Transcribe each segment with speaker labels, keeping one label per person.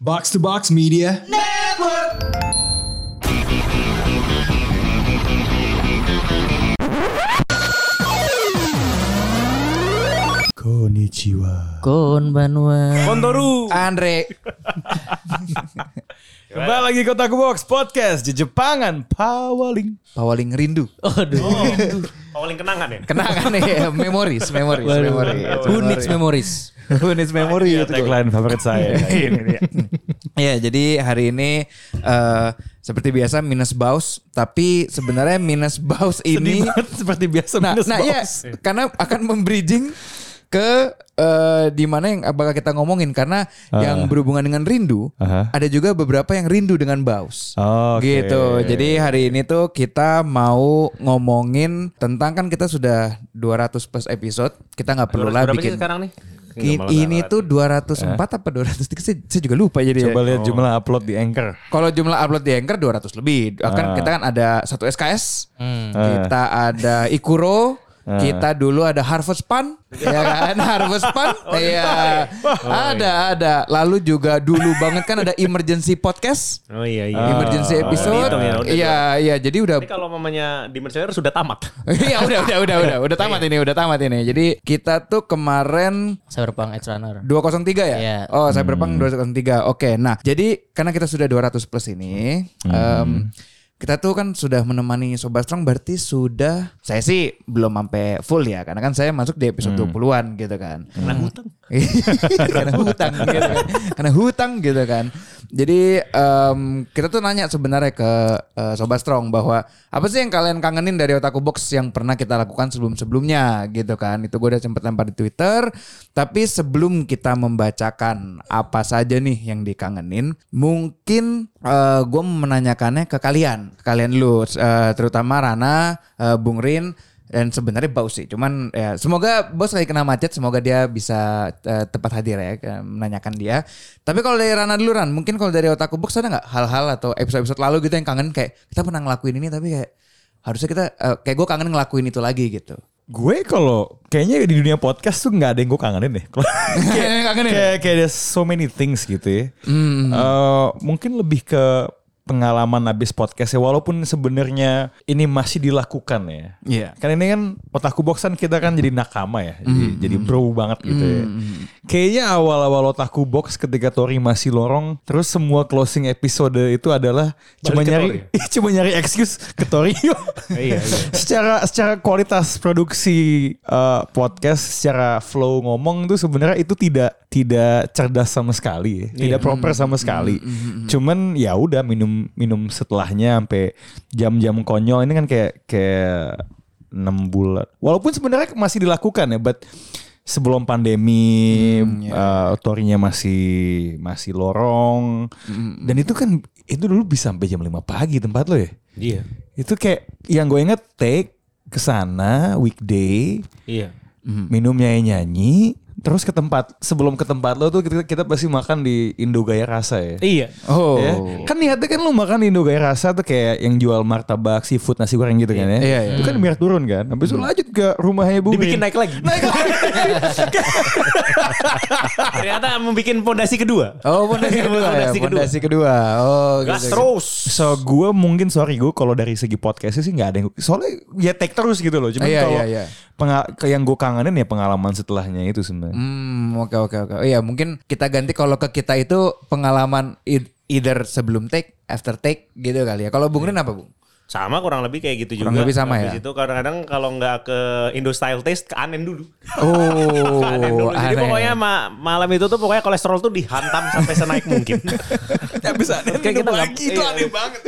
Speaker 1: Box to Box Media. Konnichiwa.
Speaker 2: Konbanwa.
Speaker 3: Kontoru
Speaker 4: Andre
Speaker 3: Kembali lagi Kotaku Box Podcast di Jepangan Pawaling
Speaker 4: Pawaling rindu
Speaker 2: Aduh.
Speaker 5: Paling kenangan ya?
Speaker 4: kenangan ya memories memories
Speaker 2: Waduh.
Speaker 4: memories
Speaker 2: Who needs memories?
Speaker 4: units memory
Speaker 3: Iya
Speaker 4: itu gua.
Speaker 3: tagline favorit
Speaker 5: Iya.
Speaker 3: saya
Speaker 4: Iya,
Speaker 3: Ini dia.
Speaker 4: Ya, jadi hari ini eh, seperti biasa minus baus, tapi sebenarnya minus baus
Speaker 3: Sedih
Speaker 4: ini
Speaker 3: banget seperti biasa
Speaker 4: nah,
Speaker 3: minus
Speaker 4: nah ya,
Speaker 3: box.
Speaker 4: karena akan membridging ke eh, di mana yang bakal kita ngomongin karena yang berhubungan dengan rindu,
Speaker 3: Ah. Aha.
Speaker 4: ada juga beberapa yang rindu dengan baus.
Speaker 3: Oke.
Speaker 4: Gitu. Jadi hari ini tuh kita mau ngomongin tentang kan kita sudah 200 plus episode, kita nggak perlu lah
Speaker 5: Berapa
Speaker 4: bikin.
Speaker 5: sih sekarang nih?
Speaker 4: Ki- ini tuh 204 apa 203 saya, saya juga lupa jadi ya.
Speaker 3: Coba lihat jumlah upload di Anchor
Speaker 4: Kalau jumlah upload di Anchor 200 lebih.
Speaker 5: Ah.
Speaker 4: Kan kita kan ada satu SKS, kita ada Ikuro,
Speaker 5: Ah.
Speaker 4: kita dulu ada Harvest Pan, ya kan Harvest Pan, iya ada ada. Lalu juga dulu banget kan ada Emergency Podcast,
Speaker 5: Oh iya iya.
Speaker 4: Emergency Episode,
Speaker 5: dihitung ya,
Speaker 4: Ah,
Speaker 5: udah.
Speaker 4: iya iya. Jadi udah
Speaker 5: Ini kalau mamanya di Mercedes sudah tamat.
Speaker 4: Iya udah udah udah udah udah tamat ini udah tamat ini. Jadi kita tuh kemarin
Speaker 2: Cyberpunk Edge
Speaker 4: 203
Speaker 2: Runner.
Speaker 4: ya?
Speaker 2: Iya.
Speaker 4: Oh, Cyberpunk 203. Oke. Nah, jadi karena kita sudah 200 plus ini, em, kita tuh kan sudah menemani Sobat Strong berarti sudah saya sih belum sampai full ya karena kan saya masuk di episode 20-an gitu kan. Karena hutang. karena hutang gitu kan. Karena hutang gitu kan. Jadi em, kita tuh nanya sebenarnya ke eh, Sobat Strong bahwa apa sih yang kalian kangenin dari Otaku Box yang pernah kita lakukan sebelum-sebelumnya gitu kan. Itu gue udah sempet lempar di Twitter. Tapi sebelum kita membacakan apa saja nih yang dikangenin, mungkin gue menanyakannya ke kalian, ke kalian dulu, eh, terutama Rana, eh, Bung Rin, dan sebenarnya Baus sih. Cuman ya semoga Baus lagi kena macet, semoga dia bisa eh, tepat hadir ya, eh, menanyakan dia. Tapi kalau dari Rana dulu Ran, mungkin kalau dari Otaku Box ada nggak hal-hal atau episode-episode lalu gitu yang kangen kayak kita pernah ngelakuin ini tapi kayak harusnya kita eh, kayak gue kangen ngelakuin itu lagi gitu.
Speaker 3: Gue kalau Kayaknya di dunia podcast tuh nggak ada yang gue kangenin deh Kalau-
Speaker 5: Iya,
Speaker 4: Kayak kangenin.
Speaker 3: kayak kayak ada so many things gitu ya. Eh, mungkin lebih ke pengalaman habis podcast ya walaupun sebenarnya ini masih dilakukan ya.
Speaker 4: Iya.
Speaker 3: Kan ini kan otakku boxan kita kan jadi nakama ya. Jadi, jadi bro banget gitu ya. Kayaknya awal-awal otakku box ketika Tori masih lorong terus semua closing episode itu adalah cuma
Speaker 5: ke
Speaker 3: nyari cuma nyari excuse ke Tori. yuk.
Speaker 5: Iya, iya.
Speaker 3: secara secara kualitas produksi eh, podcast secara flow ngomong tuh sebenarnya itu tidak tidak cerdas sama sekali, ya. tidak proper sama sekali. Cuman ya udah minum minum setelahnya sampai jam-jam konyol ini kan kayak kayak 6 bulan. Walaupun sebenarnya masih dilakukan ya, but sebelum pandemi eh, torinya masih masih lorong. Dan itu kan itu dulu bisa sampai jam 5 pagi tempat lo ya.
Speaker 5: Iya.
Speaker 3: Itu kayak yang gue inget take ke sana weekday
Speaker 5: Iya.
Speaker 4: Mhm.
Speaker 3: minum nyanyi nyanyi terus ke tempat sebelum ke tempat lo tuh kita, kita pasti makan di Indo Gaya Rasa ya.
Speaker 5: Iya.
Speaker 4: Oh.
Speaker 3: Ya. Kan niatnya kan lu makan di Indo Gaya Rasa tuh kayak yang jual martabak, seafood, nasi goreng gitu kan
Speaker 4: Iya,
Speaker 3: ya.
Speaker 4: iya. Mhm.
Speaker 3: Itu kan biar turun kan. Habis itu lanjut ke rumahnya Bu.
Speaker 5: Dibikin
Speaker 3: Rin.
Speaker 5: naik lagi. Naik lagi. Ternyata membuat pondasi kedua.
Speaker 4: Oh, pondasi kedua ya.
Speaker 5: Pondasi kedua.
Speaker 4: Pondasi kedua. Oh,
Speaker 5: Gas
Speaker 4: gitu.
Speaker 5: terus.
Speaker 3: So gue mungkin sorry gue kalau dari segi podcastnya sih nggak ada yang soalnya ya take terus gitu loh. Cuman
Speaker 4: Iya,
Speaker 3: kalau
Speaker 4: iya, iya.
Speaker 3: penga- ke- yang gue kangenin ya pengalaman setelahnya itu sebenarnya.
Speaker 4: Hmm, oke oke oke. Oh, Iya, mungkin kita ganti kalau ke kita itu pengalaman e- either sebelum take, after take gitu kali ya. Kalau Bung Rin apa, Bung?
Speaker 5: Sama kurang lebih kayak gitu
Speaker 4: Kurang
Speaker 5: juga.
Speaker 4: lebih sama ya?
Speaker 5: Habis itu kadang-kadang kalau nggak ke Indo Style Taste ke Anen dulu.
Speaker 4: Oh,
Speaker 5: Ke Anen dulu. Jadi
Speaker 4: aneh.
Speaker 5: pokoknya ma- malam itu tuh pokoknya kolesterol tuh dihantam sampai senaik mungkin.
Speaker 3: bisa
Speaker 4: gitu
Speaker 5: Kayak kita nggak- iya.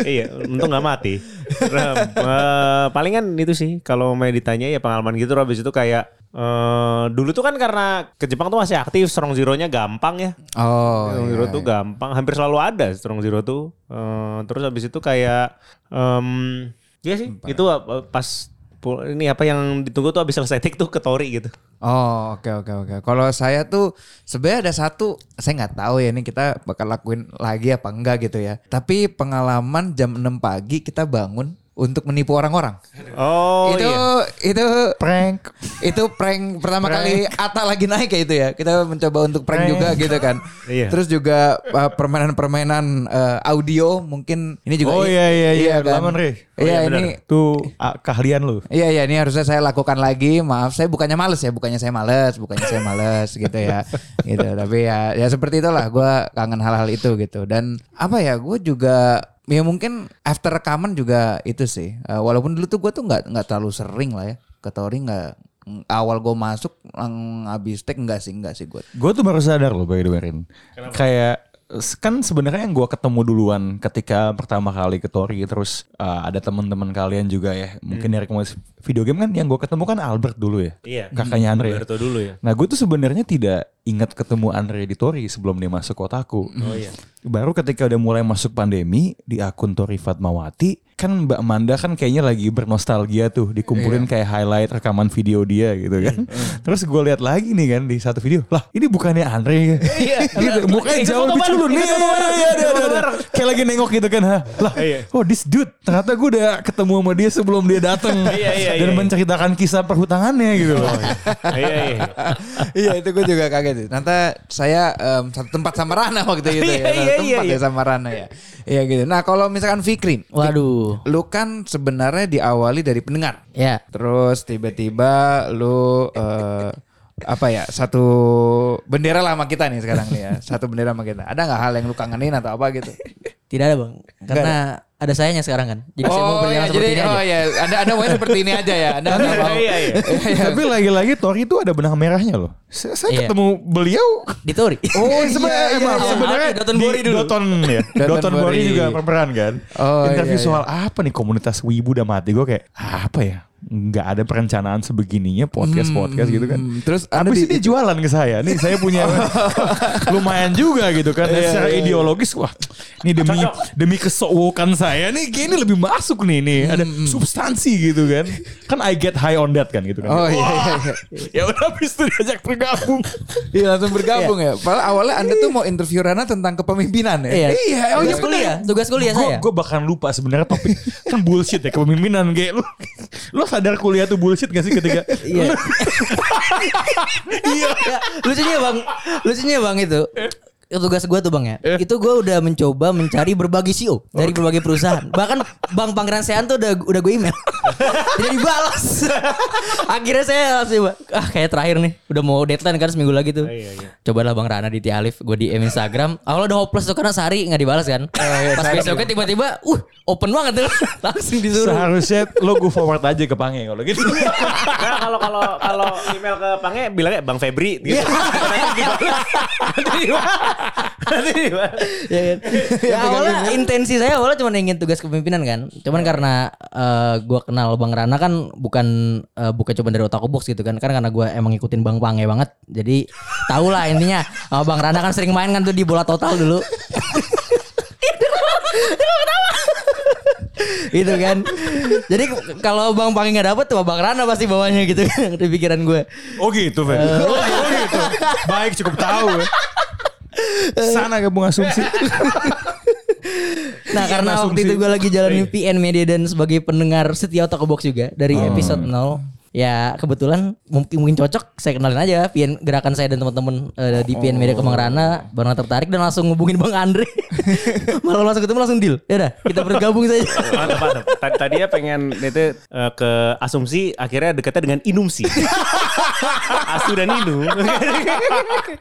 Speaker 5: Iya, untung nggak mati. Nah, eh, palingan itu sih kalau mau ditanya ya pengalaman gitu habis itu kayak eh, dulu tuh kan karena ke Jepang tuh masih aktif strong zero-nya gampang ya.
Speaker 4: Oh,
Speaker 5: strong
Speaker 4: iya.
Speaker 5: zero tuh gampang, hampir selalu ada strong zero tuh. Eh, terus habis itu kayak em ya sih, itu eh, pas pul- ini apa yang ditunggu tuh habis selesai take tuh ke Tori gitu.
Speaker 4: Oh, oke oke oke. Kalau saya tuh sebenarnya ada satu, saya nggak tahu ya ini kita bakal lakuin lagi apa enggak gitu ya. Tapi pengalaman jam 6 pagi kita bangun untuk menipu orang-orang.
Speaker 5: Oh
Speaker 4: itu
Speaker 5: iya.
Speaker 4: itu
Speaker 3: Prank.
Speaker 4: itu prank pertama
Speaker 3: Prank.
Speaker 4: kali Ata lagi naik ya itu ya. Kita mencoba untuk prank,
Speaker 3: Prank.
Speaker 4: juga gitu kan.
Speaker 5: Iya.
Speaker 4: Terus juga uh, permainan-permainan uh, audio mungkin ini juga
Speaker 3: Oh iya iya iya.
Speaker 4: kan?
Speaker 3: Laman Re.
Speaker 4: Iya, ini
Speaker 3: Tuh ah, keahlian lu.
Speaker 4: Iya iya ini harusnya saya lakukan lagi. Maaf saya bukannya males ya, bukannya saya males, bukannya saya males gitu ya. Gitu tapi ya ya seperti itulah gua kangen hal-hal itu gitu. Dan apa ya gue juga ya mungkin after rekaman juga itu sih. Eh, walaupun dulu tuh gue tuh nggak nggak terlalu sering lah ya. Ke Tori nggak awal gue masuk lang habis take enggak sih enggak sih gue.
Speaker 3: Gue tuh baru sadar loh by the way, Rin. Kayak s- kan sebenarnya yang gue ketemu duluan ketika pertama kali ke Tori terus uh, ada teman-teman kalian juga ya mungkin dari komunitas video game kan yang gue ketemu kan Albert dulu ya
Speaker 5: Iya.
Speaker 3: kakaknya Andre ya.
Speaker 5: Berto dulu ya.
Speaker 3: Nah gue tuh sebenarnya tidak ingat ketemu Andre di Tori sebelum dia masuk kotaku.
Speaker 5: Oh iya.
Speaker 3: Baru ketika udah mulai masuk pandemi di akun Tori Fatmawati kan Mbak Manda kan kayaknya lagi bernostalgia tuh dikumpulin
Speaker 5: Iya.
Speaker 3: kayak highlight rekaman video dia gitu kan. Terus gue lihat lagi nih kan di satu video lah ini bukannya Andre
Speaker 5: Iya.
Speaker 3: Gitu, mukanya
Speaker 5: Ingat
Speaker 3: jauh
Speaker 5: foto
Speaker 3: lebih
Speaker 5: bareng,
Speaker 3: culun. Iya,
Speaker 5: ingat
Speaker 3: iya,
Speaker 5: foto bareng,
Speaker 3: iya, iya,
Speaker 5: ingat
Speaker 3: iya,
Speaker 5: foto
Speaker 3: iya.
Speaker 5: bareng.
Speaker 3: Kayak lagi nengok gitu kan. ha. Lah,
Speaker 5: Iya.
Speaker 3: oh this dude. Ternyata gue udah ketemu sama dia sebelum dia datang.
Speaker 5: Iya, iya,
Speaker 3: Dan
Speaker 5: iya.
Speaker 3: menceritakan kisah perhutangannya gitu loh.
Speaker 5: Iya iya.
Speaker 4: iya itu gue juga kaget sih. Ternyata saya em, satu tempat sama Rana waktu itu ya.
Speaker 5: Iya,
Speaker 4: Satu
Speaker 5: iya,
Speaker 4: tempat
Speaker 5: iya,
Speaker 4: ya sama Rana ya. Iya gitu. Nah kalau misalkan Fikri.
Speaker 2: Waduh.
Speaker 4: Lu kan sebenarnya diawali dari pendengar.
Speaker 5: Iya.
Speaker 2: Ya.
Speaker 4: Terus tiba-tiba lu eh, apa ya satu bendera lah sama kita nih sekarang nih ya satu bendera sama kita ada nggak hal yang lu kangenin atau apa gitu
Speaker 2: Tidak ada bang. Karena ada sayanya sekarang kan. Jadi saya mau
Speaker 4: iya,
Speaker 2: berjalan seperti ini
Speaker 4: oh
Speaker 2: aja.
Speaker 4: ya ada ada mau seperti ini aja ya anda nggak mau
Speaker 5: Iya iya.
Speaker 3: Tapi lagi-lagi Tori itu ada benang merahnya loh. Saya, saya
Speaker 2: Iya.
Speaker 3: ketemu beliau.
Speaker 2: Di Tori.
Speaker 3: Oh
Speaker 4: iya,
Speaker 3: sebenarnya
Speaker 4: iya,
Speaker 3: emang
Speaker 4: iya.
Speaker 3: sebenarnya
Speaker 2: Doton
Speaker 3: di
Speaker 2: Bori dulu.
Speaker 3: Doton ya.
Speaker 4: Doton
Speaker 3: Doton,
Speaker 4: Bori.
Speaker 3: Bori juga berperan kan.
Speaker 4: Oh,
Speaker 3: Interview
Speaker 4: iya, iya.
Speaker 3: soal apa nih komunitas Wibu udah mati gue kayak apa ya? Nggak ada perencanaan sebegininya podcast podcast gitu kan.
Speaker 4: Hmm, terus ada di, Oh.
Speaker 3: Habis ini dia jualan ke saya. Nih saya punya lumayan juga gitu kan.
Speaker 4: Iya,
Speaker 3: Dan secara ideologis wah ini demi demi kesowokan saya nih kayak ini lebih masuk nih nih ada
Speaker 4: Hmm,
Speaker 3: substansi gitu kan. Kan I get high on that kan gitu kan.
Speaker 4: oh iya, iya, iya.
Speaker 3: Ya udah habis itu diajak bergabung.
Speaker 4: Iya, langsung bergabung ya padahal awalnya anda tuh mau interview Rana tentang kepemimpinan ya
Speaker 2: Iya.
Speaker 3: Iya, oh iya
Speaker 2: Tugas kuliah. Tugas kuliah
Speaker 3: Gua-
Speaker 2: saya.
Speaker 3: Gua bahkan lupa sebenarnya topik kan bullshit ya kepemimpinan kayak lu. Lu sadar kuliah tuh bullshit gak sih ketika
Speaker 2: Iya. Iya. lucunya bang, lucunya bang itu tugas gue tuh bang ya, itu gue udah mencoba mencari berbagai CEO dari berbagai perusahaan. Bahkan bang Pangeran Sean tuh udah udah gue email, tidak dibalas. Akhirnya saya langsung ah kayak terakhir nih, udah mau deadline kan seminggu lagi tuh.
Speaker 5: Iya, iya.
Speaker 2: Cobalah bang Rana di Alif, gue DM Instagram. Awalnya udah hopeless tuh karena sehari nggak dibalas kan.
Speaker 4: iya,
Speaker 2: Pas
Speaker 4: sehari
Speaker 2: besoknya tiba-tiba, uh open banget tuh, langsung disuruh.
Speaker 3: seharusnya lo gue forward aja ke Pange kalau gitu.
Speaker 5: Karena kalau kalau kalau email ke Pange bilangnya Bang Febri gitu. Nanti dibalas. Nanti dibalas. Nanti dibalas.
Speaker 2: ya, kan? Ya, awalnya intensi saya awalnya cuma ingin tugas kepemimpinan kan. Cuman karena eh, gua kenal Bang Rana kan bukan eh, bukan cuma dari otakku box gitu kan. Kan karena gua emang ngikutin Bang Pange banget. Jadi tau lah intinya sama Bang Rana kan sering main kan tuh di bola total dulu. gitu kan. Jadi kalau Bang Pange nggak dapet tuh Bang Rana pasti bawanya gitu kan di pikiran gue.
Speaker 3: oh gitu, Fer. Oh, oh gitu. Baik cukup tahu. ya. Sana gabung asumsi.
Speaker 2: Nah karena
Speaker 3: asumsi.
Speaker 2: waktu itu gue lagi jalanin PN Media dan sebagai pendengar setia Otak Box juga dari episode 0 Ya kebetulan mungkin, mungkin cocok saya kenalin aja PN gerakan saya dan teman-teman eh, di PN Media Kemang Rana Bang Rana tertarik dan langsung ngubungin Bang Andre Malah langsung ketemu langsung deal Yaudah kita bergabung saja
Speaker 5: Mantap, mantap. Tadi, tadinya pengen itu eh, ke asumsi, akhirnya dekatnya dengan inumsi. Asu dan Inu.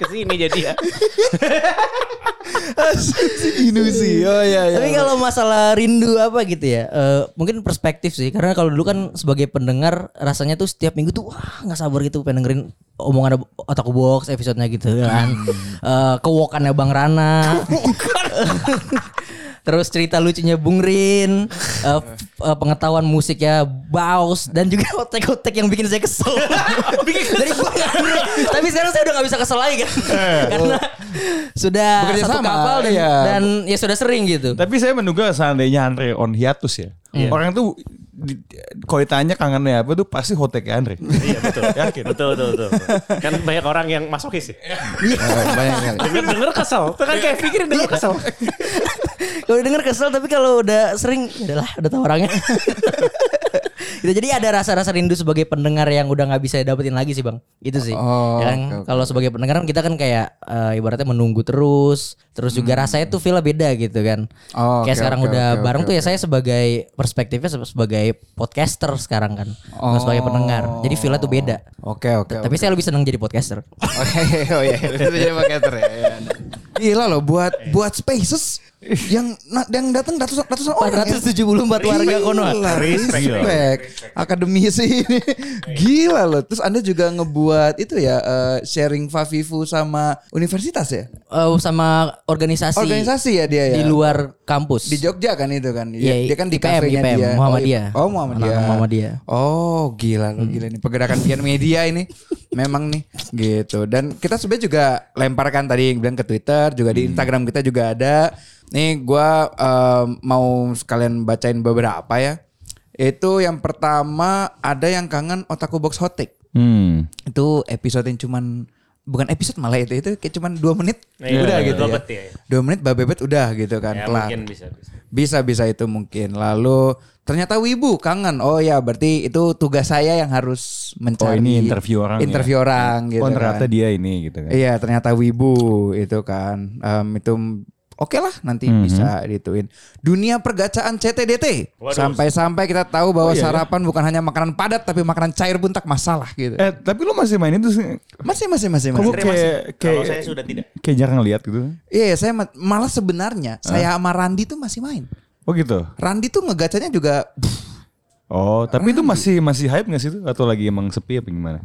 Speaker 5: Kesini jadi ya.
Speaker 4: inusi oh iya iya
Speaker 2: Tapi kalau masalah rindu apa gitu ya, eh, mungkin perspektif sih. Karena kalau dulu kan sebagai pendengar rasanya tuh setiap minggu tuh wah nggak sabar gitu pengen dengerin omongan otak box episodenya gitu kan.
Speaker 4: Hmm.
Speaker 2: Eh, kewokannya Bang Rana. Terus cerita lucunya Bung Rin, eh, f- eh, pengetahuan musiknya Baus dan juga otek-otek yang bikin saya kesel. Dari Bang Andre. Tapi sekarang saya udah nggak bisa kesel lagi kan, karena sudah
Speaker 4: Eh, oh. Bekerja
Speaker 2: satu
Speaker 4: sama,
Speaker 2: kapal dan,
Speaker 4: iya.
Speaker 2: dan ya sudah sering gitu.
Speaker 3: Tapi saya menduga seandainya Andre on hiatus ya. Orang tuh di- kalau ditanya kangennya apa tuh pasti hotek Andre.
Speaker 5: Iya betul.
Speaker 3: Yakin?
Speaker 5: Betul, betul, betul. Kan banyak orang yang masokis ya.
Speaker 4: Iya, banyak
Speaker 5: Denger, denger kesel. Itu kan kayak pikir denger kesel.
Speaker 2: kalau denger kesel tapi kalau udah sering ya udahlah udah tahu orangnya. Gitu, jadi ada rasa-rasa rindu sebagai pendengar yang udah nggak bisa dapetin lagi sih bang itu sih
Speaker 4: Oh,
Speaker 2: Ya kan?
Speaker 4: oke, oke.
Speaker 2: kalau sebagai pendengar kan kita kan kayak eh, ibaratnya menunggu terus terus juga rasanya tuh feel beda gitu kan
Speaker 4: Hmm. Oh,
Speaker 2: kayak
Speaker 4: oke,
Speaker 2: sekarang
Speaker 4: oke,
Speaker 2: udah
Speaker 4: oke,
Speaker 2: bareng
Speaker 4: oke,
Speaker 2: tuh ya saya sebagai perspektifnya se- sebagai podcaster sekarang kan bukan sebagai pendengar jadi feelnya tuh beda
Speaker 4: Oke Oh. oke.
Speaker 2: tapi saya lebih seneng jadi podcaster
Speaker 4: Oke, oh iya, itu jadi marketer ya. iya. Gila loh buat buat spaces yang na- yang datang ratusan ratusan orang. ya.
Speaker 2: 474 warga Konoha.
Speaker 4: Gila,
Speaker 5: Respect.
Speaker 4: Respect. Akademisi ini. Gila loh. Terus Anda juga ngebuat itu ya eh, sharing Favivu sama universitas ya?
Speaker 2: Eh, sama organisasi
Speaker 4: Organisasi ya dia ya?
Speaker 2: di luar kampus
Speaker 4: Di Jogja kan itu kan. Iya,
Speaker 2: Iya,
Speaker 4: dia kan di
Speaker 2: IPM,
Speaker 4: kafenya
Speaker 2: IPM,
Speaker 4: dia.
Speaker 2: Muhammadiyah.
Speaker 4: Oh, Muhammadiyah.
Speaker 2: Anak-anak Muhammadiyah. Hmm.
Speaker 4: Oh, gila loh, gila nih pergerakan pian media ini. Memang nih gitu. Dan kita sebenarnya juga lemparkan tadi yang bilang ke Twitter, juga
Speaker 2: Hmm.
Speaker 4: di Instagram kita juga ada. Nih gua em, mau sekalian bacain beberapa ya. Itu yang pertama ada yang kangen Otaku Box Hotik.
Speaker 3: Hmm.
Speaker 4: Itu episode yang cuman bukan episode malah itu itu kayak cuman dua menit
Speaker 5: Iya,
Speaker 4: udah
Speaker 5: iya,
Speaker 4: gitu
Speaker 5: dua
Speaker 4: ya.
Speaker 5: menit ya, iya.
Speaker 4: Dua menit babebet udah gitu kan
Speaker 5: Ya,
Speaker 4: kelar.
Speaker 5: mungkin bisa, bisa.
Speaker 4: Bisa bisa itu mungkin. Lalu ternyata Wibu kangen. Oh ya, berarti itu tugas saya yang harus mencari.
Speaker 3: Oh, ini interview orang
Speaker 4: Interview orang gitu.
Speaker 3: oh ternyata
Speaker 4: kan.
Speaker 3: dia ini gitu kan.
Speaker 4: Iya ternyata Wibu itu kan. Em, itu m- oke lah nanti
Speaker 3: Mhm.
Speaker 4: bisa dituin. Dunia pergacaan CTDT. Sampai-sampai kita tahu bahwa
Speaker 3: Oh, iya ya?
Speaker 4: sarapan bukan hanya makanan padat tapi makanan cair pun tak masalah gitu.
Speaker 3: Eh tapi lu masih main itu sih.
Speaker 4: Masih masih masih masih.
Speaker 3: Kok lu kayak
Speaker 5: Kalau
Speaker 3: kayak
Speaker 5: saya sudah tidak.
Speaker 3: kayak jarang lihat gitu.
Speaker 4: Iya, saya ma- malah sebenarnya saya sama Randi tuh masih main.
Speaker 3: Oh gitu.
Speaker 4: Randi tuh ngegacanya juga
Speaker 3: Oh, tapi itu masih masih hype gak sih itu atau lagi emang sepi apa gimana?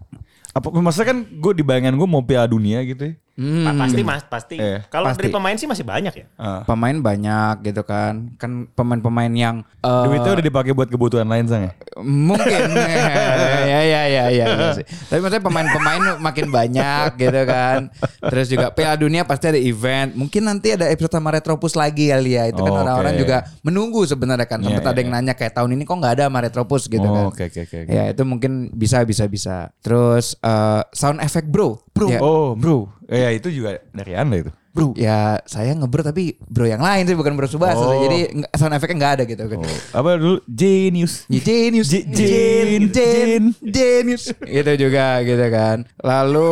Speaker 3: Apa maksudnya kan gue di bayangan gue mau Piala Dunia gitu ya.
Speaker 5: Pa- Pasti mas, pasti.
Speaker 3: Eh,
Speaker 5: Kalau dari
Speaker 4: pasti.
Speaker 5: pemain sih masih banyak ya.
Speaker 3: Ah.
Speaker 4: pemain banyak gitu kan. Kan pemain-pemain yang eh,
Speaker 3: Duitnya udah dipakai buat kebutuhan lain sang ya?
Speaker 4: mungkin ya ya ya ya, ya sih. Tapi maksudnya pemain-pemain makin banyak gitu kan. Terus juga Piala Dunia pasti ada event. Mungkin nanti ada episode sama Retropus lagi kali ya. Itu kan
Speaker 3: Oh,
Speaker 4: orang-orang
Speaker 3: oke.
Speaker 4: juga menunggu sebenarnya kan. Sempet
Speaker 3: Iya,
Speaker 4: ada yang nanya kayak tahun ini kok nggak ada sama Retropus gitu
Speaker 3: Oh,
Speaker 4: kan.
Speaker 3: oke, oke, oke, oke.
Speaker 4: Ya itu mungkin bisa bisa bisa. Terus eh, sound effect bro. Bro. Ya,
Speaker 3: Oh, bro. Eh, ya itu juga dari Anda itu.
Speaker 4: Bro. Ya saya ngebro tapi bro yang lain sih bukan bro Subasa sih.
Speaker 3: Oh.
Speaker 4: Jadi nggak- sound effectnya nggak ada gitu.
Speaker 3: Oh, apa dulu genius.
Speaker 4: Iya, Genius,
Speaker 3: Je- Jen- Jen.
Speaker 4: genius, itu juga gitu kan. Lalu,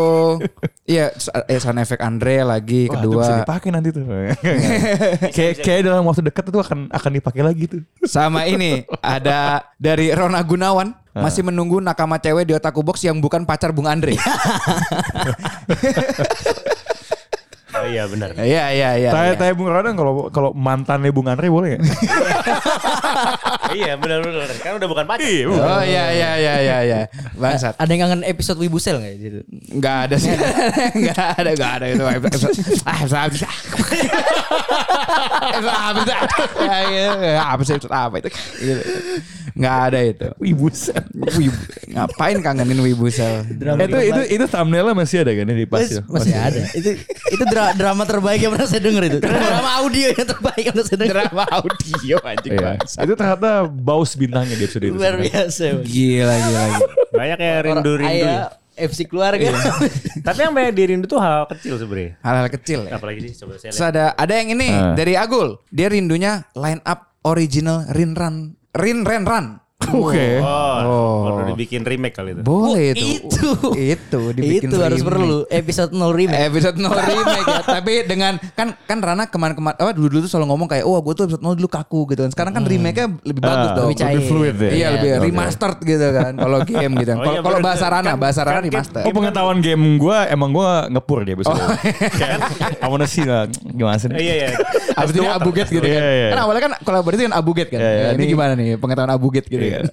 Speaker 4: ya, eh, sound effect Andre lagi
Speaker 3: Wah, itu
Speaker 4: kedua,
Speaker 3: bisa dipakai nanti tuh. kayak kayak dalam waktu dekat itu akan akan dipakai lagi tuh.
Speaker 4: sama ini ada dari Rona Gunawan masih menunggu nakama cewek di otaku box yang bukan pacar Bung Andre.
Speaker 5: Oh iya benar.
Speaker 4: Iya iya iya.
Speaker 3: Tanya
Speaker 4: iya.
Speaker 3: tanya Bung Radang kalau kalau mantannya Bung Andre boleh nggak?
Speaker 5: iya benar benar. Kan udah bukan pacar.
Speaker 4: Oh iya iya iya iya iya. Bangsat.
Speaker 2: ada yang kangen episode Wibusel nggak gitu
Speaker 4: Enggak ada sih. Enggak ada, enggak ada itu. Ah, habis. ah. Habis. ah. Ya, ya, Apa sih episode apa itu? Gitu. Enggak ada itu.
Speaker 3: Ibu Sam.
Speaker 4: Wibu. Ngapain kangenin Wibu Sel?
Speaker 2: drama
Speaker 3: itu itu itu thumbnailnya masih ada kan ya di pas
Speaker 2: masih, masih ada itu itu dra- drama terbaik yang pernah saya denger itu drama audio yang terbaik yang pernah saya denger
Speaker 4: Drama audio anjing
Speaker 3: Iya.
Speaker 4: bangsat.
Speaker 3: Itu ternyata baus bintangnya di episode itu.
Speaker 2: luar biasa
Speaker 4: Gila gila. gila.
Speaker 5: Banyak ya rindu-rindu. ya.
Speaker 2: Ayah, FC keluarga
Speaker 5: Tapi yang banyak dirindu tuh hal kecil sebenarnya.
Speaker 4: Hal-hal kecil ya.
Speaker 5: Apalagi sih coba saya
Speaker 4: Terus
Speaker 5: lihat.
Speaker 4: ada ada yang ini
Speaker 3: Ah.
Speaker 4: dari Agul. Dia rindunya line up original Rinran Rinrenran.
Speaker 3: Oke.
Speaker 5: Oh, perlu dibikin remake kali itu.
Speaker 4: Boleh itu.
Speaker 2: Oh, itu
Speaker 4: Itu dibikin
Speaker 2: itu harus
Speaker 4: remake.
Speaker 2: perlu episode 0 remake
Speaker 4: Episode 0 remake ya. Tapi dengan kan kan Rana kemarin-kemarin apa dulu dulu tuh selalu ngomong kayak wah gue tuh episode 0 dulu kaku gitu kan. Sekarang kan remake-nya lebih bagus
Speaker 3: Hmm. Ah,
Speaker 4: dong.
Speaker 2: lebih cair.
Speaker 3: lebih fluid ya.
Speaker 4: Iya, lebih
Speaker 3: Oke.
Speaker 4: remastered gitu kan. Kalau game gitu. kan.
Speaker 5: Oh,
Speaker 4: Kalau
Speaker 5: iya,
Speaker 4: kalau
Speaker 5: bener.
Speaker 4: bahasa Rana,
Speaker 5: Kan-
Speaker 4: bahasa Rana
Speaker 5: kan-
Speaker 4: remaster.
Speaker 3: Oh pengetahuan game gue emang gue ngepur dia episode. Oh. I wanna see lah gimana
Speaker 5: Eh,
Speaker 3: sih?
Speaker 5: Kan? Iya iya.
Speaker 4: Abis ini abuget gitu kan.
Speaker 3: Iya, iya.
Speaker 4: Kan awalnya kan kolaborasi kan abuget kan.
Speaker 3: Iya, iya.
Speaker 4: Ini
Speaker 3: Ini-
Speaker 4: gimana nih pengetahuan abuget gitu
Speaker 3: Iya.
Speaker 4: kan.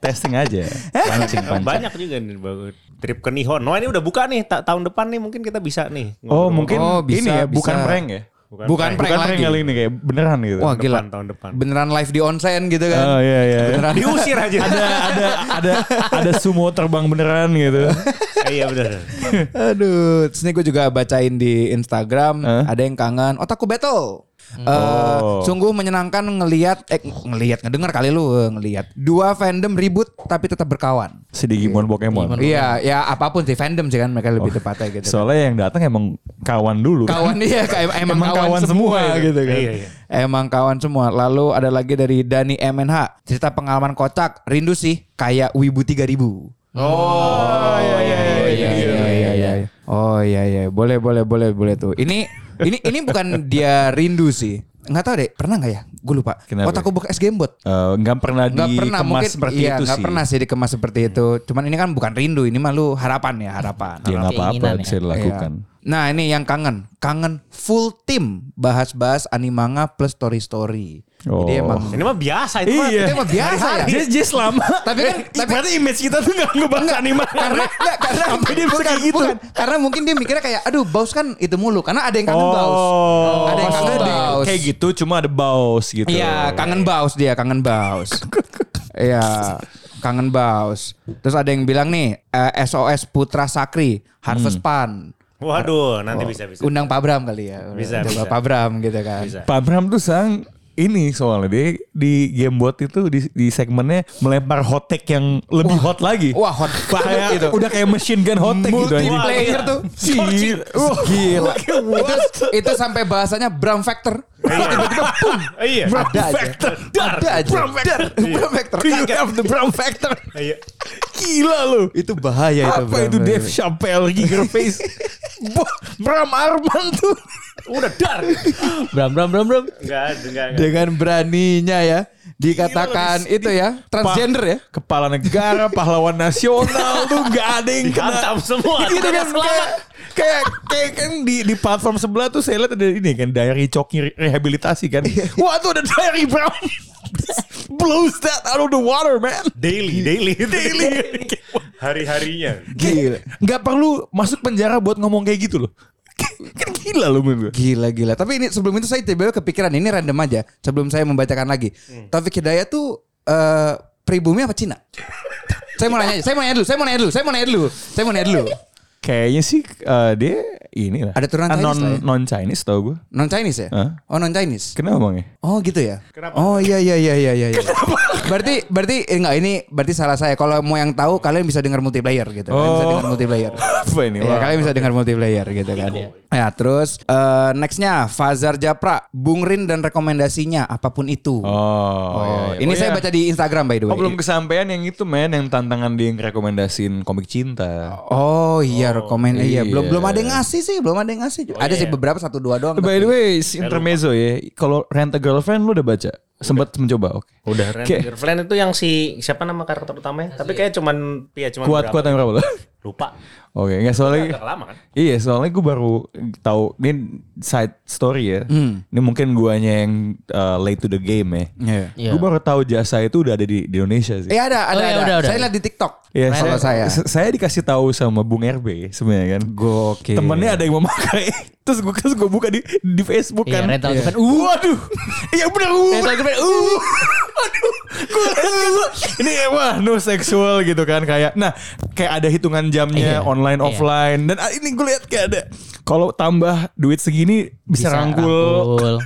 Speaker 3: Testing aja.
Speaker 4: Eh,
Speaker 3: Pancing pancing.
Speaker 5: Banyak juga nih bagus. Trip ke Nihon. Wah, ini udah buka nih. Ta- tahun depan nih mungkin kita bisa nih.
Speaker 3: Oh
Speaker 5: ngobrol-ngobrol.
Speaker 3: mungkin
Speaker 4: Oh, bisa,
Speaker 3: ini ya
Speaker 4: bisa.
Speaker 3: bukan prank ya?
Speaker 5: Bukan
Speaker 4: Bukan
Speaker 5: prank.
Speaker 4: prank
Speaker 3: bukan prank
Speaker 4: lagi.
Speaker 3: kali ini kayak beneran gitu.
Speaker 4: Wah gila.
Speaker 5: depan, tahun depan.
Speaker 4: Beneran live di onsen gitu kan.
Speaker 3: Oh iya iya.
Speaker 4: Beneran.
Speaker 5: Diusir aja.
Speaker 3: ada ada ada ada sumo terbang beneran gitu.
Speaker 5: Eh, iya benar.
Speaker 4: Aduh, terus ini gue juga bacain di Instagram
Speaker 3: Hah?
Speaker 4: ada yang kangen otaku battle. Eh, sungguh menyenangkan ngelihat eh ngelihat ngedengar kali lu eh, ngelihat dua fandom ribut tapi tetap berkawan.
Speaker 3: Si Digimon Pokemon.
Speaker 4: Iya, ya apapun sih fandom sih kan mereka lebih tepatnya gitu.
Speaker 3: Soalnya yang datang emang kawan dulu.
Speaker 4: kawan iya kayak emang, kawan, semua, gitu kan.
Speaker 5: Iya, iya.
Speaker 4: Emang kawan semua. Lalu ada lagi dari Dani MNH, cerita pengalaman kocak, rindu sih kayak Wibu 3000.
Speaker 5: Oh, iya iya iya. iya.
Speaker 4: iya iya. Oh iya iya, boleh boleh boleh boleh tuh. Ini ini ini bukan dia rindu sih. Nggak tahu deh, pernah nggak ya? Gue lupa.
Speaker 3: Kenapa?
Speaker 4: Otakku bekas gamebot.
Speaker 3: Eh, nggak pernah
Speaker 4: Nggak pernah
Speaker 3: dikemas
Speaker 4: mungkin
Speaker 3: seperti
Speaker 4: iya,
Speaker 3: itu
Speaker 4: nggak
Speaker 3: sih.
Speaker 4: pernah sih dikemas seperti itu. Cuman ini kan bukan rindu, ini mah lu harapan ya, harapan.
Speaker 3: Ya nggak apa-apa
Speaker 2: Keinginan ya.
Speaker 3: bisa dilakukan.
Speaker 4: Iya. Nah ini yang kangen, kangen full tim bahas-bahas animanga plus story story. Jadi
Speaker 3: Oh.
Speaker 4: emang
Speaker 5: Ini mah biasa itu mah.
Speaker 4: Itu emang biasa ya.
Speaker 3: Iya. Dia dia selama. Eh,
Speaker 4: Tapi kan- tapi-
Speaker 3: berarti image kita tuh nggak ngebahas anime.
Speaker 4: karena enggak, karena
Speaker 3: Sampai dia bisa
Speaker 4: bukan,
Speaker 3: kayak gitu.
Speaker 4: bukan. karena mungkin dia mikirnya kayak aduh baus kan itu mulu karena ada yang kangen
Speaker 3: Oh.
Speaker 4: baus. Ada yang kangen
Speaker 3: maksudnya dia
Speaker 4: baus.
Speaker 3: Kayak gitu cuma ada baus gitu.
Speaker 4: Iya, kangen baus dia, kangen baus. Iya, kangen baus. Terus ada yang bilang nih eh, SOS Putra Sakri,
Speaker 3: Hmm.
Speaker 4: Harvest Pan.
Speaker 5: Waduh, nanti bisa bisa.
Speaker 4: Undang Pak Bram kali ya.
Speaker 5: Bisa,
Speaker 4: Coba
Speaker 5: bisa.
Speaker 4: Pak Bram gitu kan.
Speaker 5: Bisa.
Speaker 3: Pak Bram tuh sang ini soalnya dia di Gamebot itu di, di segmennya melempar hotek yang lebih hot lagi.
Speaker 4: Wah, hot
Speaker 3: Bahaya,
Speaker 4: banget itu.
Speaker 3: udah kayak machine gun hotek gitu aja.
Speaker 4: Multiplayer
Speaker 5: Wah,
Speaker 4: tuh.
Speaker 3: Gila.
Speaker 4: Gila. itu, itu sampai bahasanya Bram Factor.
Speaker 5: Tiba-tiba pum. Iya.
Speaker 4: Ada aja.
Speaker 3: Factor.
Speaker 4: Ada aja.
Speaker 3: Bram Factor.
Speaker 4: Bram Factor.
Speaker 3: Do you have the Bram Factor?
Speaker 5: Iya.
Speaker 3: Gila lu.
Speaker 4: Itu bahaya itu.
Speaker 3: Apa itu Dave Chappelle, Gigerface? Bo- Bram Arman tuh.
Speaker 5: Udah dar.
Speaker 2: Bram bram bram bram.
Speaker 5: Enggak, ada, enggak, enggak.
Speaker 4: Dengan beraninya ya. Dikatakan itu ya. Transgender ya.
Speaker 3: Kepala negara, pahlawan nasional tuh gak ada yang kena.
Speaker 5: Dihantam semua.
Speaker 4: Iya,
Speaker 3: Gitu kan kayak, kayak kayak kan di di platform sebelah tuh saya lihat ada ini kan diary coki rehabilitasi kan.
Speaker 4: Iya.
Speaker 3: Wah tuh ada diary Bram. Blows that out of the water man.
Speaker 5: Daily, daily, Iya. daily. Hari-harinya.
Speaker 4: Gila.
Speaker 3: Gak perlu masuk penjara buat ngomong kayak gitu loh. Kan gila loh menurut gue.
Speaker 4: Gila gila. Tapi ini sebelum itu saya tiba-tiba kepikiran ini random aja. Sebelum saya membacakan lagi. Taufik Hidayat tuh eh, pribumi apa Cina? saya mau nanya, aja. saya mau nanya dulu, saya mau nanya dulu, saya mau nanya dulu, saya mau nanya dulu.
Speaker 3: Kayaknya sih eh, dia ini lah.
Speaker 4: Ada turunan
Speaker 3: Ah,
Speaker 4: Chinese
Speaker 3: non,
Speaker 4: lah ya.
Speaker 3: non Chinese tau gue.
Speaker 4: Non Chinese ya?
Speaker 3: Hah?
Speaker 4: Oh non Chinese.
Speaker 3: Kenapa bang ya?
Speaker 4: Oh gitu ya.
Speaker 5: Kenapa?
Speaker 4: Oh iya iya iya iya iya. iya. berarti berarti eh, enggak ini berarti salah saya. Kalau mau yang tahu kalian bisa dengar multiplayer gitu. Kalian bisa
Speaker 3: Oh.
Speaker 4: dengar multiplayer.
Speaker 3: Apa ini? Iya.
Speaker 4: Ya,
Speaker 3: Wah.
Speaker 4: kalian bisa dengar multiplayer gitu kan. Ya, terus eh, nextnya Fazar Japra, Bung Rin dan rekomendasinya apapun itu.
Speaker 3: Oh, iya, iya.
Speaker 4: Ini
Speaker 3: Oh,
Speaker 4: saya
Speaker 3: iya.
Speaker 4: baca di Instagram by the way.
Speaker 3: Oh, belum kesampaian yang itu men yang tantangan dia rekomendasiin komik cinta.
Speaker 4: Oh iya rekomend iya.
Speaker 3: iya. Oh,
Speaker 4: belum belum ada yang ngasih sih, belum ada yang ngasih. ada sih beberapa satu dua doang.
Speaker 3: By the way, si intermezzo ya. Kalau Rent a Girlfriend lu udah baca? Sempat mencoba, oke.
Speaker 5: Udah
Speaker 3: Kayak-
Speaker 5: Ranger Flan itu yang si siapa nama karakter utamanya? Tapi kayak cuman ya cuman
Speaker 3: Kuat-kuat
Speaker 5: berapa.
Speaker 3: yang berapa lu?
Speaker 5: Lupa.
Speaker 3: Oke, nggak soalnya
Speaker 5: Agak lama kan?
Speaker 3: Iya, soalnya gue baru tahu ini side story ya.
Speaker 2: Hmm.
Speaker 3: Ini mungkin guanya yang uh, late to the game ya.
Speaker 4: Iya.
Speaker 2: Iya.
Speaker 3: Gue baru tahu jasa itu udah ada di, di Indonesia sih.
Speaker 4: Eh ada ada
Speaker 2: Oh, iya,
Speaker 4: ada.
Speaker 2: udah, udah.
Speaker 4: Saya lihat di TikTok.
Speaker 3: Iya,
Speaker 4: kalau saya.
Speaker 3: se- saya dikasih tahu sama Bung RB sebenarnya kan.
Speaker 4: Gokil.
Speaker 3: Temennya ada yang memakai. Terus gue terus gue buka di di Facebook
Speaker 2: Iya,
Speaker 3: kan.
Speaker 2: rental
Speaker 3: Iya.
Speaker 2: girlfriend.
Speaker 3: Waduh. Iya bener. Uh.
Speaker 2: Rental girlfriend, uh.
Speaker 3: Aduh. Gue ini eh, wah no seksual gitu kan kayak. Nah, kayak ada hitungan jamnya
Speaker 2: Iya.
Speaker 3: online
Speaker 2: Iya.
Speaker 3: offline dan ah, ini gue lihat kayak ada kalau tambah duit segini bisa, rangkul.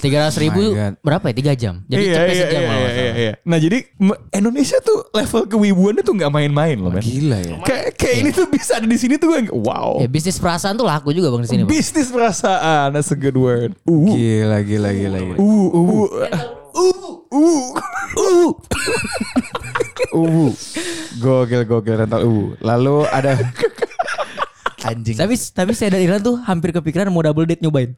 Speaker 2: Tiga ratus ribu
Speaker 4: My God.
Speaker 2: berapa ya? Tiga jam. Jadi
Speaker 3: iya,
Speaker 2: cepet
Speaker 3: iya,
Speaker 2: sejam
Speaker 3: iya,
Speaker 2: kalau nggak
Speaker 3: iya,
Speaker 2: salah.
Speaker 3: iya. Nah jadi me- Indonesia tuh level kewibuannya tuh nggak main-main loh men.
Speaker 4: Gila ya.
Speaker 3: Kayak kayak ini
Speaker 2: Iya.
Speaker 3: tuh bisa ada di sini tuh gue wow.
Speaker 2: Ya bisnis perasaan tuh laku juga bang di sini. Bang.
Speaker 3: Bisnis perasaan, that's a good word. Uh,
Speaker 4: Gila gila gila gila.
Speaker 3: uh, uh, uh, uh, uh.
Speaker 4: Uwu. Gokil gokil rental uwu. Lalu ada anjing.
Speaker 2: Tapi tapi saya dan Irfan tuh hampir kepikiran mau double date nyobain.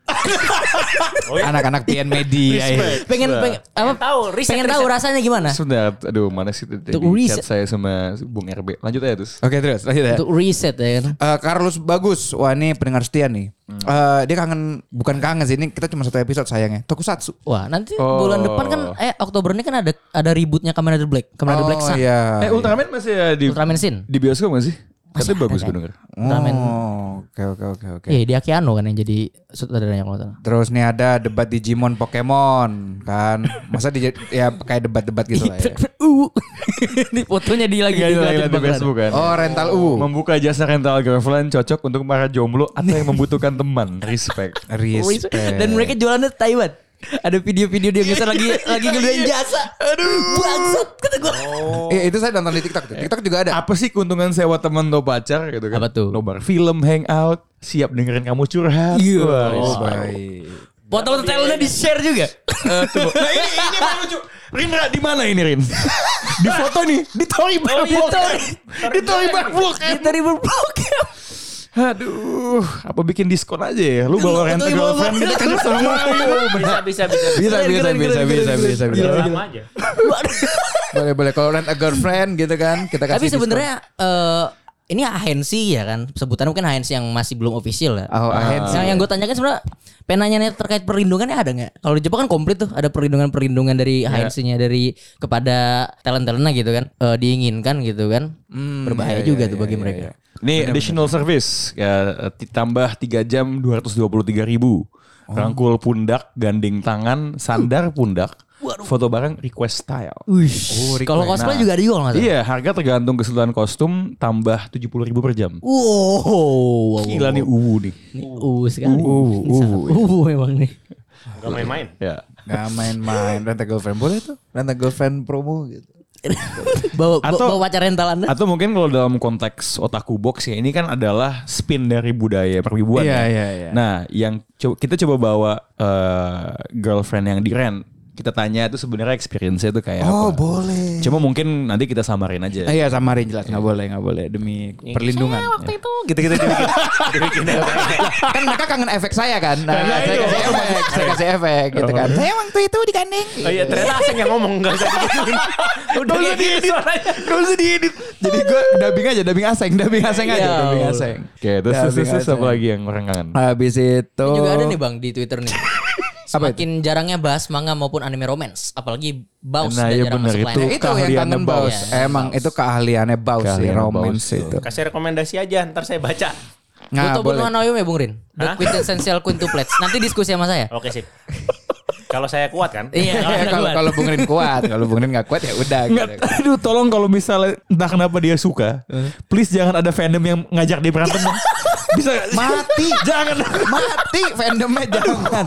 Speaker 2: Oh, iya.
Speaker 4: Anak-anak PN Media. ya.
Speaker 2: Pengen pengen apa?
Speaker 5: Pengen tahu, riset,
Speaker 2: pengen tahu
Speaker 5: riset.
Speaker 2: rasanya gimana?
Speaker 3: Sebentar, aduh mana sih tadi
Speaker 2: Untuk riset.
Speaker 3: chat saya sama Bung RB. Lanjut aja terus.
Speaker 4: Oke terus lanjut ya.
Speaker 2: Untuk reset ya kan.
Speaker 4: Eh, Carlos bagus, wah ini pendengar setia nih.
Speaker 2: Hmm.
Speaker 4: Eh, dia kangen, bukan kangen sih ini kita cuma satu episode sayangnya. Tokusatsu.
Speaker 2: Wah nanti
Speaker 3: Oh.
Speaker 2: bulan depan kan eh Oktober ini kan ada ada ributnya Kamen Rider Black, Kamen Rider Black Sun,
Speaker 4: iya.
Speaker 3: eh Ultraman masih ya di
Speaker 2: Ultraman Sin.
Speaker 3: di bioskop masih? Katanya bagus gue denger.
Speaker 2: Ultraman.
Speaker 4: Oh, oke oke oke oke.
Speaker 2: Iya di Akiano kan yang jadi sutradaranya kalau nggak salah.
Speaker 4: Terus nih ada debat Digimon Pokemon kan. Masa di ya kayak debat-debat gitu lah ya.
Speaker 2: Uh. U. Ini fotonya di
Speaker 4: Iya,
Speaker 2: lagi di-
Speaker 3: lagi
Speaker 2: di
Speaker 3: Iya, di Facebook kan.
Speaker 2: Iya.
Speaker 4: Oh rental U.
Speaker 3: Membuka jasa rental girlfriend cocok untuk para jomblo atau yang membutuhkan teman. Respect.
Speaker 4: Respect.
Speaker 2: Dan mereka jualannya Taiwan. Ada video-video dia ngeser lagi lagi ngeluarin jasa. Aduh. Bangsat kata gua.
Speaker 4: Eh, itu saya nonton di TikTok. tuh. TikTok juga ada.
Speaker 3: Apa sih keuntungan sewa teman atau pacar gitu kan?
Speaker 2: Apa tuh?
Speaker 3: Nobar film, hangout, siap dengerin kamu curhat.
Speaker 2: Iya.
Speaker 3: Wah,
Speaker 2: Oh,
Speaker 3: respect.
Speaker 2: Foto-foto Thailandnya di-share juga.
Speaker 3: Nah ini, ini yang lucu. Rindra di mana ini Rin? di foto nih, di Tory Bar
Speaker 2: iya,
Speaker 3: Blok
Speaker 2: Tory.
Speaker 3: M. Di Tory Bar Blok M.
Speaker 2: Kita di Blok M.
Speaker 3: Aduh, apa bikin diskon aja ya? Lu bawa
Speaker 2: Foto
Speaker 3: rental
Speaker 2: ibu-ibu.
Speaker 3: girlfriend kan kita kerja semua.
Speaker 5: Bisa, bisa, bisa. Iya,
Speaker 4: Bisa,
Speaker 2: Keren,
Speaker 4: bisa,
Speaker 2: keren,
Speaker 4: bisa,
Speaker 2: keren,
Speaker 4: bisa,
Speaker 2: keren,
Speaker 4: bisa, bisa.
Speaker 5: Sama aja.
Speaker 4: Boleh, boleh. Kalau rent a girlfriend gitu kan, kita kasih.
Speaker 2: Tapi
Speaker 4: diskon.
Speaker 2: sebenarnya eh ini ahensi ya kan sebutan mungkin ahensi yang masih belum official ya.
Speaker 4: Oh, ahensi.
Speaker 2: Yang, yang gue tanyakan sebenarnya penanya terkait perlindungannya ada nggak? Kalau di Jepang kan komplit tuh ada perlindungan perlindungan dari
Speaker 3: Iya.
Speaker 2: ahensinya dari kepada talent talentnya gitu kan Eh, diinginkan gitu kan
Speaker 3: Hmm, iya,
Speaker 2: berbahaya juga tuh bagi mereka.
Speaker 3: Nih additional service ya ditambah 3 jam 223 ribu. Rangkul pundak, gandeng tangan, sandar pundak, foto bareng request style.
Speaker 2: Uish. Kalau cosplay juga ada juga kalau nggak salah.
Speaker 3: Oh, Iya, harga tergantung keseluruhan kostum tambah 70 ribu per jam.
Speaker 2: Wow, wow,
Speaker 3: Uh. Gila nih uwu nih.
Speaker 2: Ini uh sekali.
Speaker 3: Uh,
Speaker 2: Ini
Speaker 3: uh,
Speaker 2: sangat- uh, memang nih.
Speaker 5: Gak main-main.
Speaker 3: Ya.
Speaker 4: Nggak main-main rent a girlfriend boleh tuh. Rent a girlfriend promo gitu.
Speaker 2: bawa,
Speaker 3: Atau-
Speaker 2: bawa pacar rental anda.
Speaker 3: Atau mungkin kalau dalam konteks otaku box ya ini kan adalah spin dari budaya perwibuan.
Speaker 4: Iya,
Speaker 3: ya.
Speaker 4: iya, iya.
Speaker 3: Nah, yang co- kita coba bawa eh, girlfriend yang di rent, kita tanya itu sebenarnya experience-nya itu kayak
Speaker 4: Oh,
Speaker 3: apa.
Speaker 4: boleh.
Speaker 3: Cuma mungkin nanti kita samarin aja.
Speaker 4: Ah, iya samarin jelas nggak boleh nggak boleh
Speaker 2: Iya,
Speaker 4: demi perlindungan. Iya.
Speaker 5: Waktu itu gitu-gitu dibikin. dibikin
Speaker 4: kan mereka kangen efek saya kan. Nah, saya kasih efek, saya kasih efek gitu kan. Saya waktu itu digandeng.
Speaker 5: Oh iya, ternyata asing yang ngomong enggak usah digituin. Udah kayak gitu suaranya.
Speaker 4: Gak usah diedit. Jadi gue dubbing aja, dubbing aseng, dubbing aseng aja,
Speaker 2: Iya.
Speaker 4: dubbing aseng.
Speaker 3: Oke, terus
Speaker 4: Dubbing
Speaker 3: terus, terus, terus apa
Speaker 4: aseng.
Speaker 3: lagi yang orang kangen?
Speaker 4: Habis itu
Speaker 2: Ini juga ada nih bang di Twitter nih.
Speaker 4: Oh. Apa
Speaker 2: Semakin jarangnya bahas manga maupun anime romance, apalagi baus
Speaker 3: Nah,
Speaker 2: dan
Speaker 3: iya
Speaker 2: jarang
Speaker 3: bener,
Speaker 2: masuk
Speaker 3: itu.
Speaker 2: line.
Speaker 4: itu yang
Speaker 3: keahliannya
Speaker 4: kangen baus.
Speaker 3: Baus.
Speaker 4: Emang itu keahliannya baus sih,
Speaker 3: Keahliannya
Speaker 4: romance
Speaker 3: Baus.
Speaker 4: itu.
Speaker 5: Kasih rekomendasi aja, ntar saya baca.
Speaker 4: Nah,
Speaker 2: Butuh
Speaker 4: boleh.
Speaker 2: penuhan Naoyum ya Bung Rin. The
Speaker 5: Hah? Oh,
Speaker 2: quintessential quintuplets. Nanti diskusi sama saya.
Speaker 5: Oke sip. Kalau saya kuat kan?
Speaker 2: Iya, kalau
Speaker 4: Ya,
Speaker 2: ada
Speaker 4: Kalau
Speaker 2: buat.
Speaker 4: kalau Bung Rin kuat, kalau Bung Rin nggak kuat ya udah. gitu.
Speaker 3: Nggak, aduh tolong kalau misalnya entah kenapa dia suka, please jangan ada fandom yang ngajak dia berantem. Bisa
Speaker 4: Mati.
Speaker 3: jangan.
Speaker 4: Mati fandomnya jangan.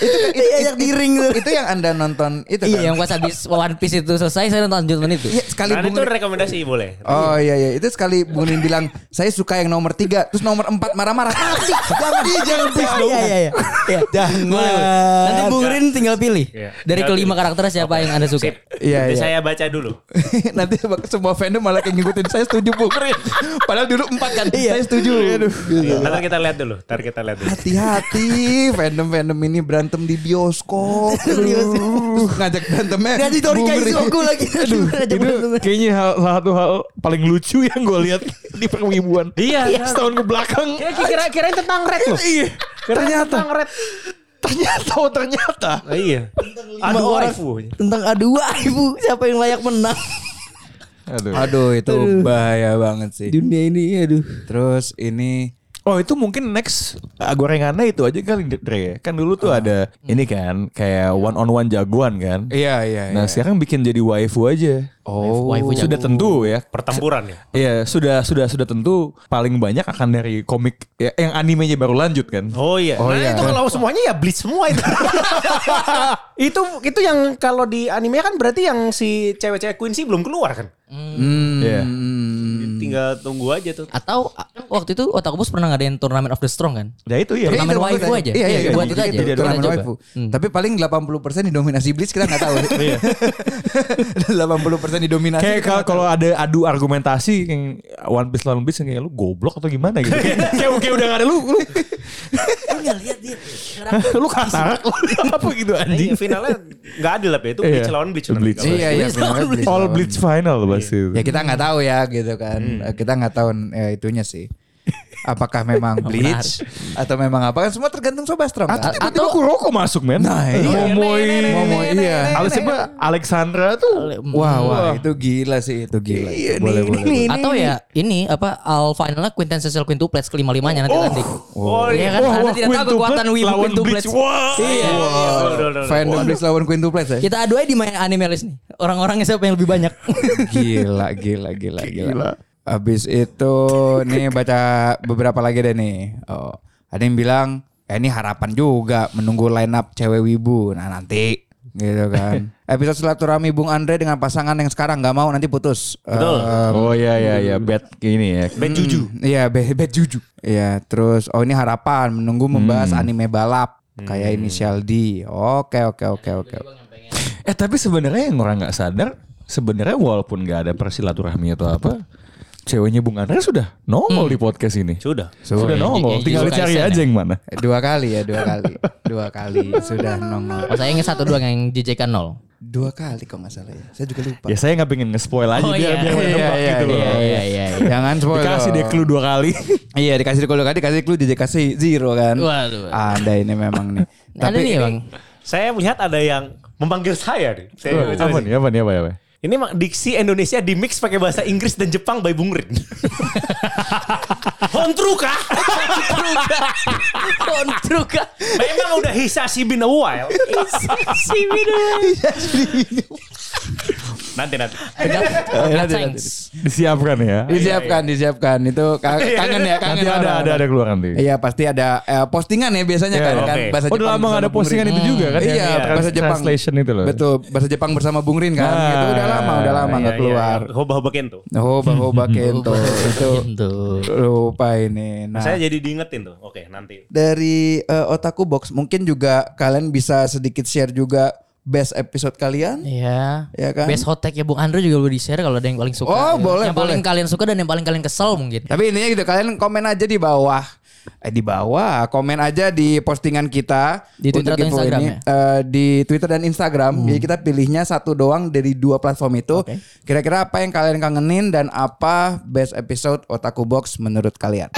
Speaker 4: Iya, itu, itu,
Speaker 2: Diajak di ring tuh.
Speaker 4: itu yang anda nonton itu
Speaker 5: gitu
Speaker 4: kan?
Speaker 2: Iya, yang pas habis One Piece itu selesai saya nonton lanjutan itu.
Speaker 4: Iya, sekali
Speaker 5: Karena
Speaker 4: Bung
Speaker 5: Nah, itu
Speaker 4: Rin-
Speaker 5: rekomendasi boleh.
Speaker 4: Oh iya iya itu sekali Bung Rin bilang saya suka yang nomor tiga terus nomor empat marah-marah mati jangan di jangan please dong.
Speaker 2: Iya, iya, iya. Iya.
Speaker 4: Jangan.
Speaker 2: Boleh, boleh. Nanti Bung Rin tinggal pilih.
Speaker 5: Iya.
Speaker 2: Dari
Speaker 5: Tinggal
Speaker 2: kelima
Speaker 5: pilih.
Speaker 2: karakter siapa yang Anda suka.
Speaker 5: Sip.
Speaker 4: Iya,
Speaker 5: Nanti
Speaker 4: iya.
Speaker 5: saya baca dulu.
Speaker 4: Nanti semua fandom malah kayak ngikutin saya setuju Bung Rin. Padahal dulu empat kan. Saya setuju. Gitu.
Speaker 5: Ntar kita lihat dulu. Ntar kita lihat dulu.
Speaker 4: Hati-hati fandom-fandom ini berantem di bioskop. Aduh. Terus ngajak berantemnya.
Speaker 2: Nanti Tori
Speaker 4: Bung Rin.
Speaker 2: Kaizoku lagi. Aduh, ngajak berantem.
Speaker 3: Kayaknya hal, salah satu hal paling lucu yang gue lihat di perwibuan. Iya. Setahun ke belakang.
Speaker 5: Kira-kira kirain tentang red loh.
Speaker 3: Iya.
Speaker 5: Ternyata tentang red.
Speaker 3: Ternyata oh ternyata.
Speaker 5: Oh, iya. Aduh
Speaker 2: orang.
Speaker 5: waifu.
Speaker 2: Tentang adu waifu siapa yang layak menang
Speaker 3: Aduh.
Speaker 4: Aduh itu bahaya banget sih.
Speaker 2: dunia ini aduh
Speaker 4: Terus ini
Speaker 3: Oh itu mungkin next ah, gorengannya itu aja kali Dre. Kan dulu tuh ada ini kan kayak one on one jagoan
Speaker 4: Ah.
Speaker 3: kan.
Speaker 4: Iya iya.
Speaker 3: Nah sekarang bikin jadi waifu aja.
Speaker 4: Oh.
Speaker 2: Waifu jago.
Speaker 3: Sudah tentu ya.
Speaker 5: Pertempuran ya.
Speaker 3: Iya sudah sudah sudah tentu paling banyak akan dari komik ya, yang animenya baru lanjut kan.
Speaker 5: Oh iya.
Speaker 4: Oh,
Speaker 5: nah,
Speaker 4: iya.
Speaker 5: itu kalau semuanya ya bleach semua itu. itu itu yang kalau di anime kan berarti yang si cewek-cewek Quincy belum keluar kan.
Speaker 4: Hmm.
Speaker 3: Iya.
Speaker 5: Tinggal tunggu aja tuh.
Speaker 2: Atau a- waktu itu Otakubus pernah ngadain turnamen of the strong kan?
Speaker 3: Nah itu ya.
Speaker 2: Turnamen
Speaker 4: Iya,
Speaker 2: waifu
Speaker 4: makanya.
Speaker 2: aja.
Speaker 4: Iya, iya,
Speaker 2: Iya,
Speaker 4: iya.
Speaker 2: buat itu aja.
Speaker 4: Jadi ada
Speaker 2: Kita
Speaker 4: turnamen
Speaker 2: coba.
Speaker 4: waifu. Tapi paling 80% didominasi Blitz kita nggak tahu. 80% didominasi.
Speaker 3: Kayak
Speaker 4: kita nggak
Speaker 3: kalau-
Speaker 4: tahu.
Speaker 3: kalau ada adu argumentasi yang One Piece lawan One Piece yang kayak lu goblok atau gimana gitu. kayak, kayak kayak udah gak ada lu lu
Speaker 2: Enggak lihat dia.
Speaker 3: lu katarak lu apa gitu anjing.
Speaker 5: Anjing Iya, finalnya nggak adil lah ya. itu
Speaker 3: Iya.
Speaker 5: bleach lawan bleach. nanti.
Speaker 3: Bleach.
Speaker 4: Iya iya.
Speaker 2: Blitz
Speaker 4: benar,
Speaker 2: lawan
Speaker 4: Blitz
Speaker 3: All
Speaker 4: lawan.
Speaker 3: Blitz final pasti. itu.
Speaker 4: Ya kita nggak tahu ya gitu kan. Eh, Kita nggak tahu eh, itunya sih. apakah memang bleach atau memang apa kan semua tergantung sobat strong.
Speaker 3: Atau
Speaker 4: kan?
Speaker 3: tiba-tiba Kuroko masuk men.
Speaker 4: Nah, iya.
Speaker 3: Momoi.
Speaker 4: Momoi, iya.
Speaker 3: Alis apa? Eh, Alexandra tuh.
Speaker 4: Wah, wah, itu gila sih, itu gila.
Speaker 3: Iya,
Speaker 4: boleh,
Speaker 3: nih,
Speaker 4: boleh.
Speaker 3: ini, ini,
Speaker 2: Atau
Speaker 3: ini.
Speaker 2: ya ini apa al finalnya quintessential quintuplets kelima limanya nanti nanti.
Speaker 5: Oh,
Speaker 2: Iya
Speaker 5: iya.
Speaker 2: kan
Speaker 3: Wah,
Speaker 2: karena
Speaker 3: wah,
Speaker 2: tidak tahu
Speaker 3: quintuplet
Speaker 2: kekuatan wibu
Speaker 3: lawan
Speaker 2: quintuplets.
Speaker 3: Bleach. Wah.
Speaker 2: Iya.
Speaker 5: Betul, betul, betul.
Speaker 4: Fandom Bleach lawan Quintuplets ya.
Speaker 2: Kita adu aja di main anime list nih. Orang-orangnya siapa yang lebih banyak?
Speaker 4: gila, gila, gila, gila. Abis itu nih baca beberapa lagi deh nih. Oh, ada yang bilang, eh, ini harapan juga menunggu line up cewek wibu. Nah nanti gitu kan. Episode silaturahmi Bung Andre dengan pasangan yang sekarang nggak mau nanti putus.
Speaker 5: Betul.
Speaker 4: Eh,
Speaker 3: Oh iya iya iya bad ini ya.
Speaker 5: Ben Juju.
Speaker 4: Hmm, Iya, be- bad juju. Iya, terus oh ini harapan menunggu membahas
Speaker 5: Hmm.
Speaker 4: anime balap kayak inisial D. Oke, oke, oke, oke.
Speaker 3: Eh tapi sebenarnya yang orang nggak sadar sebenarnya walaupun nggak ada persilaturahmi atau apa, ceweknya Bung Andre sudah nongol
Speaker 2: Hmm.
Speaker 3: di podcast ini.
Speaker 5: Sudah.
Speaker 3: Sudah
Speaker 2: Yang-
Speaker 3: nongol,
Speaker 2: yang
Speaker 3: tinggal
Speaker 2: disuka
Speaker 3: dicari
Speaker 2: Isen
Speaker 3: aja
Speaker 2: ya?
Speaker 3: yang mana.
Speaker 4: Dua kali ya, dua kali. Dua kali sudah nongol.
Speaker 2: Oh, saya yang satu doang yang JJK nol.
Speaker 4: Dua kali kok nggak salah ya. Saya juga lupa.
Speaker 3: Ya saya nggak pengen nge-spoil aja
Speaker 2: Oh,
Speaker 3: biar
Speaker 2: iya.
Speaker 3: biar
Speaker 4: Iya,
Speaker 3: nebak
Speaker 4: iya,
Speaker 3: gitu loh.
Speaker 4: iya, iya.
Speaker 2: iya.
Speaker 4: Jangan spoiler.
Speaker 3: Dikasih dia clue dua kali.
Speaker 4: Iya, dikasih clue kan, dikasih clue dikasih zero kan.
Speaker 2: Waduh.
Speaker 4: Ada ini memang nih.
Speaker 2: Ada nih bang.
Speaker 5: Saya melihat ada yang memanggil saya nih.
Speaker 2: Iya,
Speaker 5: Saya coba
Speaker 3: apa
Speaker 5: Oh, nih.
Speaker 3: nih? Apa nih? Apa apa?
Speaker 5: Ini mak diksi Indonesia di mix pakai bahasa Inggris dan Jepang by Bung Rin. Hontru kah?
Speaker 2: Kontrol kah?
Speaker 5: Memang udah hisashi been a while.
Speaker 2: Si Bidul.
Speaker 5: Nanti nanti.
Speaker 2: Thanks.
Speaker 3: Disiapkan ya.
Speaker 2: Iya,
Speaker 4: Disiapkan, disiapkan. Itu ka- kangen ya, kangen.
Speaker 3: Nanti ada ada ada keluar nanti.
Speaker 4: Iya pasti ada eh, postingan ya biasanya
Speaker 3: Iya,
Speaker 4: kan, kan
Speaker 5: oke.
Speaker 4: bahasa
Speaker 3: Oh udah lama
Speaker 4: bersama
Speaker 3: nggak ada
Speaker 4: Bung
Speaker 3: postingan
Speaker 4: Rin.
Speaker 3: itu juga kan? yang
Speaker 4: Iya,
Speaker 3: trans-
Speaker 4: bahasa Jepang.
Speaker 3: Translation itu loh.
Speaker 4: Betul, bahasa Jepang bersama Bung Rin kan.
Speaker 3: Nah. iya,
Speaker 4: itu udah lama, udah lama
Speaker 5: Iya,
Speaker 4: nggak keluar.
Speaker 5: Hoba-hoba kento.
Speaker 4: Hoba hoba kento
Speaker 3: Iya.
Speaker 4: itu
Speaker 2: Iya, Tuh.
Speaker 4: lupa ini. Nah,
Speaker 5: Saya jadi diingetin tuh. Oke, nanti.
Speaker 4: dari eh, Otaku Box mungkin juga kalian bisa sedikit share juga best episode kalian.
Speaker 2: Iya.
Speaker 4: Ya kan?
Speaker 2: Best hot take ya Bung Andre juga boleh di-share kalau ada yang paling suka.
Speaker 4: Oh, boleh,
Speaker 2: Yang paling
Speaker 4: boleh.
Speaker 2: kalian suka dan yang paling kalian kesel mungkin.
Speaker 4: Tapi intinya gitu kalian komen aja di bawah. Eh di bawah, komen aja di postingan kita
Speaker 2: Di Twitter atau
Speaker 4: info
Speaker 2: Instagram ya?
Speaker 4: Eh, di Twitter dan Instagram. Jadi kita pilihnya satu doang dari dua platform itu.
Speaker 2: Oke.
Speaker 4: Kira-kira apa yang kalian kangenin dan apa best episode Otaku Box menurut kalian?